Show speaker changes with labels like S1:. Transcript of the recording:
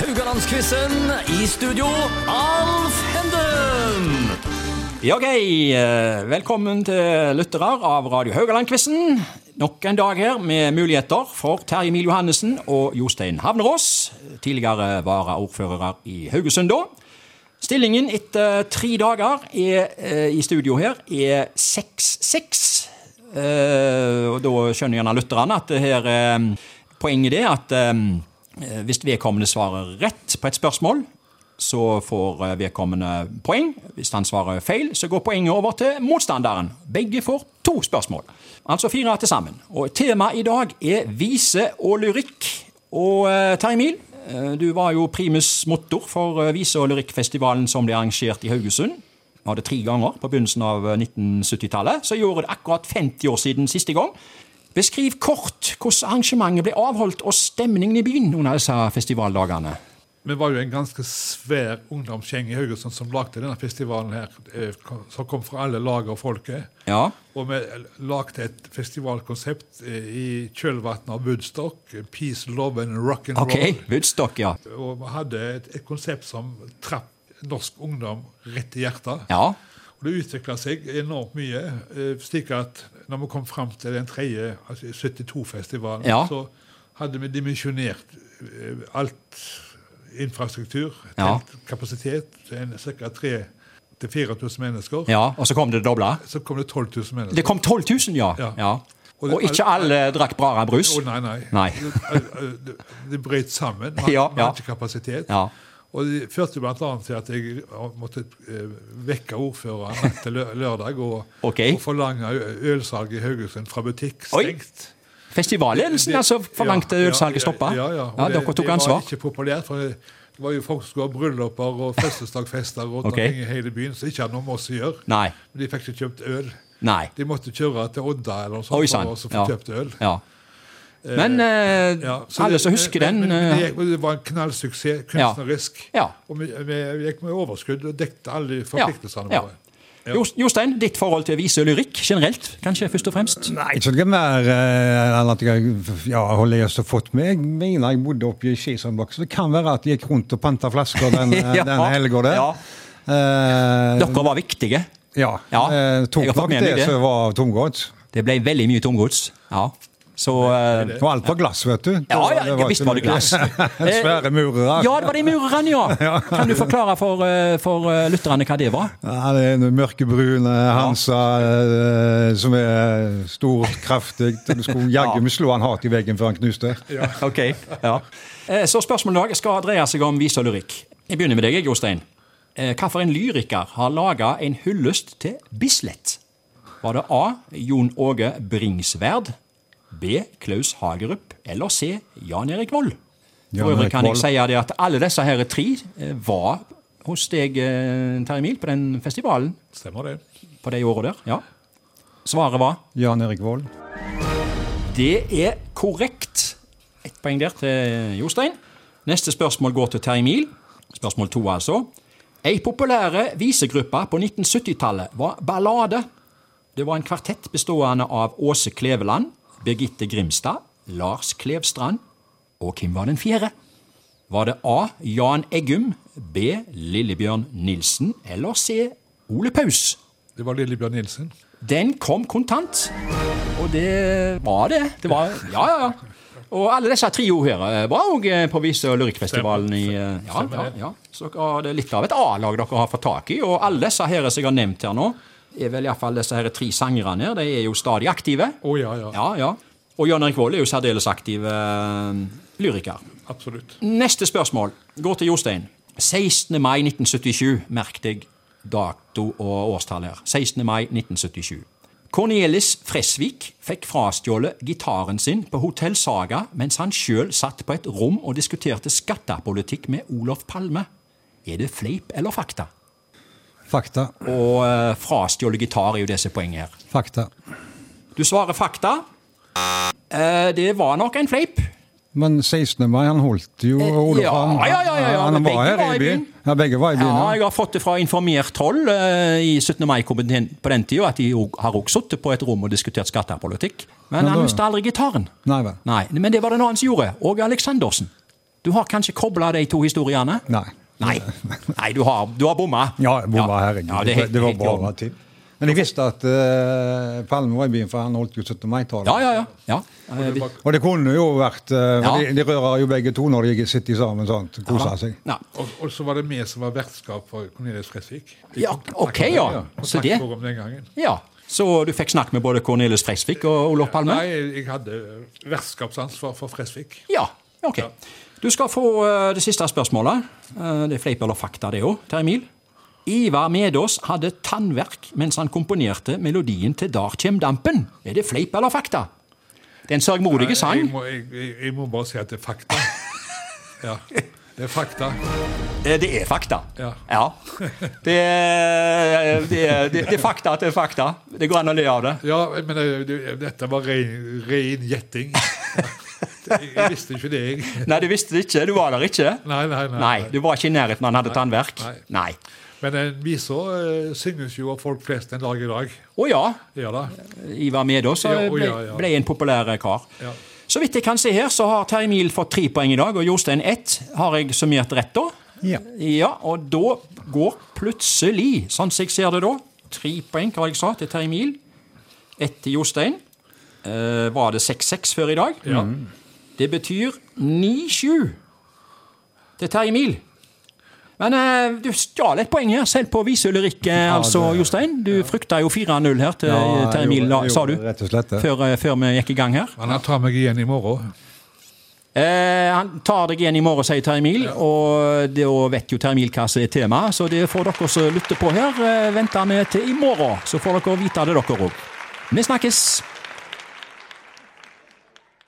S1: Haugalandsquizen. I studio, Alf Henden.
S2: Ja, ok. Eh, Velkommen til lyttere av Radio Haugaland-quizen. Nok en dag her med muligheter for Terje Mil Johannessen og Jostein Havnerås. Tidligere varaordførere i Haugesund da. Stillingen etter tre dager er, eh, i studio her er 6-6. Eh, og da skjønner gjerne lytterne at det her eh, Poenget er at eh, hvis vedkommende svarer rett på et spørsmål, så får eh, vedkommende poeng. Hvis han svarer feil, så går poenget over til motstanderen. Begge får to spørsmål. Altså fire til sammen. Og temaet i dag er vise og lyrikk. Og eh, Terje Mil, eh, du var jo primus motor for eh, vise- og lyrikkfestivalen som ble arrangert i Haugesund. Vi hadde tre ganger på begynnelsen av eh, 1970-tallet. Så gjorde det akkurat 50 år siden siste gang. Beskriv kort hvordan arrangementet ble avholdt og stemningen i byen under disse festivaldagene.
S3: Vi var jo en ganske svær ungdomsgjeng i Haugesund som lagde denne festivalen her, eh, kom- som kom fra alle lag og folket.
S2: Ja,
S3: Og vi lagde et festivalkonsept eh, i kjølvannet av Woodstock. eh, Peace, love and rock and
S2: ok. Woodstock, ja.
S3: roll. Og vi hadde et, et konsept som trapp norsk ungdom rett i hjertet.
S2: Ja,
S3: Og det utvikla seg enormt mye. eh, slik at når vi kom fram til den tredje, altså 72-festivalen,
S2: Ja.
S3: så hadde vi dimensjonert eh, alt infrastruktur,
S2: Ja.
S3: telt, kapasitet, til ca. 3000-4000 mennesker.
S2: ja, og så kom det det doble.
S3: Så kom det 12 000 mennesker.
S2: Det kom 12 000, ja.
S3: Ja.
S2: ja.
S3: Og
S2: Og,
S3: det-
S2: ikke alle drakk Brara-brus.
S3: Å, nei, nei.
S2: Nei.
S3: Det, det, det brøt sammen. Man,
S2: Ja,
S3: man
S2: ja.
S3: hadde ikke kapasitet.
S2: Ja.
S3: Og det førte bl.a. til at jeg måtte eh, vekke ordføreren natt til lø- lørdag og,
S2: Ok.
S3: og forlange ø- ølsalg i Haugesund fra butikk
S2: Oi.
S3: stengt.
S2: Festivalledelsen
S3: Det-
S2: altså forlangte
S3: ja, ja,
S2: ølsalget stoppa.
S3: Ja, ja. Og
S2: Ja,
S3: det-
S2: dere tok ansvar.
S3: Det var ikke populært. for det det var jo folk som skulle ha brylluper og fødselsdagsfester rundt
S2: Ok.
S3: omkring i hele byen, som ikke hadde noe med oss å gjøre.
S2: Nei.
S3: Men de fikk ikke kjøpt øl.
S2: Nei.
S3: De måtte kjøre til Odda eller noe
S2: Oi
S3: sånt
S2: sann.
S3: for å få
S2: Ja.
S3: kjøpt øl.
S2: Ja. Men eh,
S3: Ja, så
S2: alle
S3: det-
S2: som husker
S3: men-
S2: den
S3: men
S2: eh,
S3: det, gikk- det var en knallsuksess kunstnerisk.
S2: Ja.
S3: Og vi, vi gikk med overskudd og dekte alle forpliktelsene
S2: eh, Ja.
S3: våre.
S2: Jo- Jostein, ditt forhold til vise og lyrikk generelt, kanskje først og fremst?
S4: Nei, ikke noe mer eh, enn at jeg ja, har lest og fått med. Jeg mener jeg bodde oppe i Skisandbakk, så det kan være at jeg gikk rundt og panta flasker den, eh,
S2: Ja.
S4: den helga der.
S2: Ja.
S4: Eh,
S2: Dere var viktige.
S4: ja.
S2: Ja,
S4: eh, tok
S2: jeg har fått
S4: nok
S2: med meg
S4: det
S2: det.
S4: som var tomgodt.
S2: Det ble veldig mye tomgods. Ja. Så eh,
S4: Og alt var glass, vet du.
S2: Ja, ja,
S4: Det var
S2: visst
S4: ikke
S2: var det
S4: noe-
S2: glass. Eh,
S4: Svære murere.
S2: Ja, det var de murerne, ja! Kan du forklare for, eh, for eh, lytterne hva det var?
S4: Ja, det er en mørkebrun eh, Hansa eh, som er stort, kraftig. og Du skulle jaggu meg slå han hardt i veggen før han knuste.
S2: Ok, ja. Eh, Så spørsmålet i dag skal dreie seg om vise og lyrikk. Jeg begynner med deg, jeg, Jostein. Eh, Hvilken lyriker har laga en hyllest til Bislett? Var det A. Jon Åge Bringsværd? B. Klaus Hagerup? Eller C. Jan Erik Vold? For
S4: Jan
S2: øvrig
S4: Erik
S2: kan jeg
S4: Vold.
S2: si det at alle disse her tre eh, var hos deg, eh, Terje Mil, på den festivalen
S3: Stemmer det.
S2: på de åra der. Ja. Svaret var
S4: Jan Erik Vold.
S2: Det er korrekt. Ett poeng der til Jostein. Neste spørsmål går til Terje Mil. Spørsmål to, altså. Ei populære visegruppe på 1970-tallet var Ballade. Det var en kvartett bestående av Åse Kleveland, Birgitte Grimstad, Lars Klevstrand og hvem var den fjerde? Var det A. Jan Eggum, B. Lillebjørn Nilsen eller C. Ole Paus?
S3: Det var Lillebjørn Nilsen.
S2: Den kom kontant. Og det var det. det var, ja, ja, ja. Og alle disse trio her eh, var òg på Vise- og lyrikkfestivalen i eh, ja, ja, ja. Så dere har- det er litt av et A-lag dere har fått tak i. Og alle disse her som jeg har nevnt her nå, er vel iallfall disse her tre sangerne her. De er jo stadig aktive.
S3: Å ja, ja,
S2: Ja, ja. Og Jan Erik Vold er jo særdeles aktiv eh, lyriker.
S3: Absolutt.
S2: Neste spørsmål går til Jostein. 16. mai 1977, merk deg dato og årstall her. 16. mai 1977. Cornelis Fresvik fikk frastjålet gitaren sin på Hotell Saga mens han sjøl satt på et rom og diskuterte skattepolitikk med Olof Palme. Er det fleip eller fakta?
S4: Fakta.
S2: Og eh, frastjålet gitar er jo disse poenget her.
S4: Fakta.
S2: Du svarer fakta. Eh, det var nok en fleip.
S4: Men 16. mai, han holdt jo Olof
S2: Eh, ja,
S4: han-
S2: ja, ja, ja, ja,
S4: Han
S2: men
S4: var
S2: begge
S4: her i byen. Ja, begge var i byen.
S2: Ja,
S4: Ja,
S2: jeg har fått det fra informert hold eh, i 17. mai-komiteen på den tida, at de jo har også sittet på et rom og diskutert skattepolitikk. Men
S4: Men
S2: han
S4: da-
S2: mista aldri gitaren.
S4: Nei vel.
S2: Nei, Men det var det en annen som gjorde. Åge Aleksandersen. Du har kanskje kobla de to historiene?
S4: Nei.
S2: Nei, Nei du har, du har bomma.
S4: Ja, jeg bomma, herregud.
S2: Ja,
S4: det,
S2: det, er helt,
S4: var
S2: helt i orden.
S4: bare til. Men jeg visste at eh, Palme var i byen, for han holdt jo 17. mai-talen.
S2: Ja, ja, ja. ja. Eh, vi-
S4: Og det kunne jo vært eh,
S2: Ja.
S4: for de, de rører jo begge to når de sitter sammen sånn. Koser seg.
S2: Ja.
S3: Og, og så var det vi som var vertskap for Cornelius Fresvik. Vi
S2: Ja,
S3: kontaktet-
S2: ok, ja. Så det-
S3: kontaktforum den gangen.
S2: ja. Så du fikk snakk med både Cornelius Freisvik og Olof Palme?
S3: Nei, jeg hadde vertskapsansvar for Fresvik.
S2: Ja, ok. Du skal få eh, det siste spørsmålet. Eh, det er fleip eller fakta, det òg, Terje Mil. Ivar Medås hadde tannverk mens han komponerte melodien til Dar kjem dampen. Er det fleip eller fakta? Det er en sørgmodig sang.
S3: Jeg må, jeg, jeg, jeg må bare si at det er fakta. Ja, det er fakta.
S2: Eh, Det er fakta.
S3: Ja.
S2: Det, er, eh, det, er, det er fakta at det er fakta. Det går an å le av det.
S3: Ja, men det, det, dette var ren, ren gjetting. Jeg, jeg visste ikke det, jeg.
S2: Nei, du visste det ikke. Du var der ikke.
S3: Nei, nei, nei.
S2: Nei, Du var ikke i nærheten da han hadde tannverk.
S3: Nei.
S2: Nei.
S3: Men eh, viser eh, synges jo av folk flest en dag i dag.
S2: Å ja.
S3: Ja da.
S2: Ivar Medås
S3: Ja,
S2: eh,
S3: å
S2: ble,
S3: ja, ja.
S2: ble en populær eh, kar.
S3: Ja.
S2: Så vidt jeg kan se her, så har Terje Mil fått tre poeng i dag, og Jostein ett. Har jeg summert rett, da?
S4: Ja.
S2: ja. Og da går plutselig, sånn som jeg ser det da, tre poeng, hva jeg sa, til Terje Mil. Ett til Jostein. Eh, var det 6-6 før i dag? Mm.
S3: Ja.
S2: Det betyr 9-7 til Terje Mil. Men eh, du stjal et poeng her, selv på Vise Ulrik, eh, altså, Jostein. Du frykta jo 4-0 her til
S4: Ja, jeg
S2: Eh, Terje Mil,
S4: gjorde-
S2: da,
S4: jeg
S2: sa du,
S4: gjorde rett og slett det.
S2: før, eh, før vi gikk i gang her.
S3: Men han tar meg igjen i morgen.
S2: Eh, han tar deg igjen i morgen, sier Terje Mil, og da vet jo Terje Mil hva som er temaet, så det får dere som lytter på her, eh, vente med til i morgen, så får dere vite det, dere òg. Vi snakkes!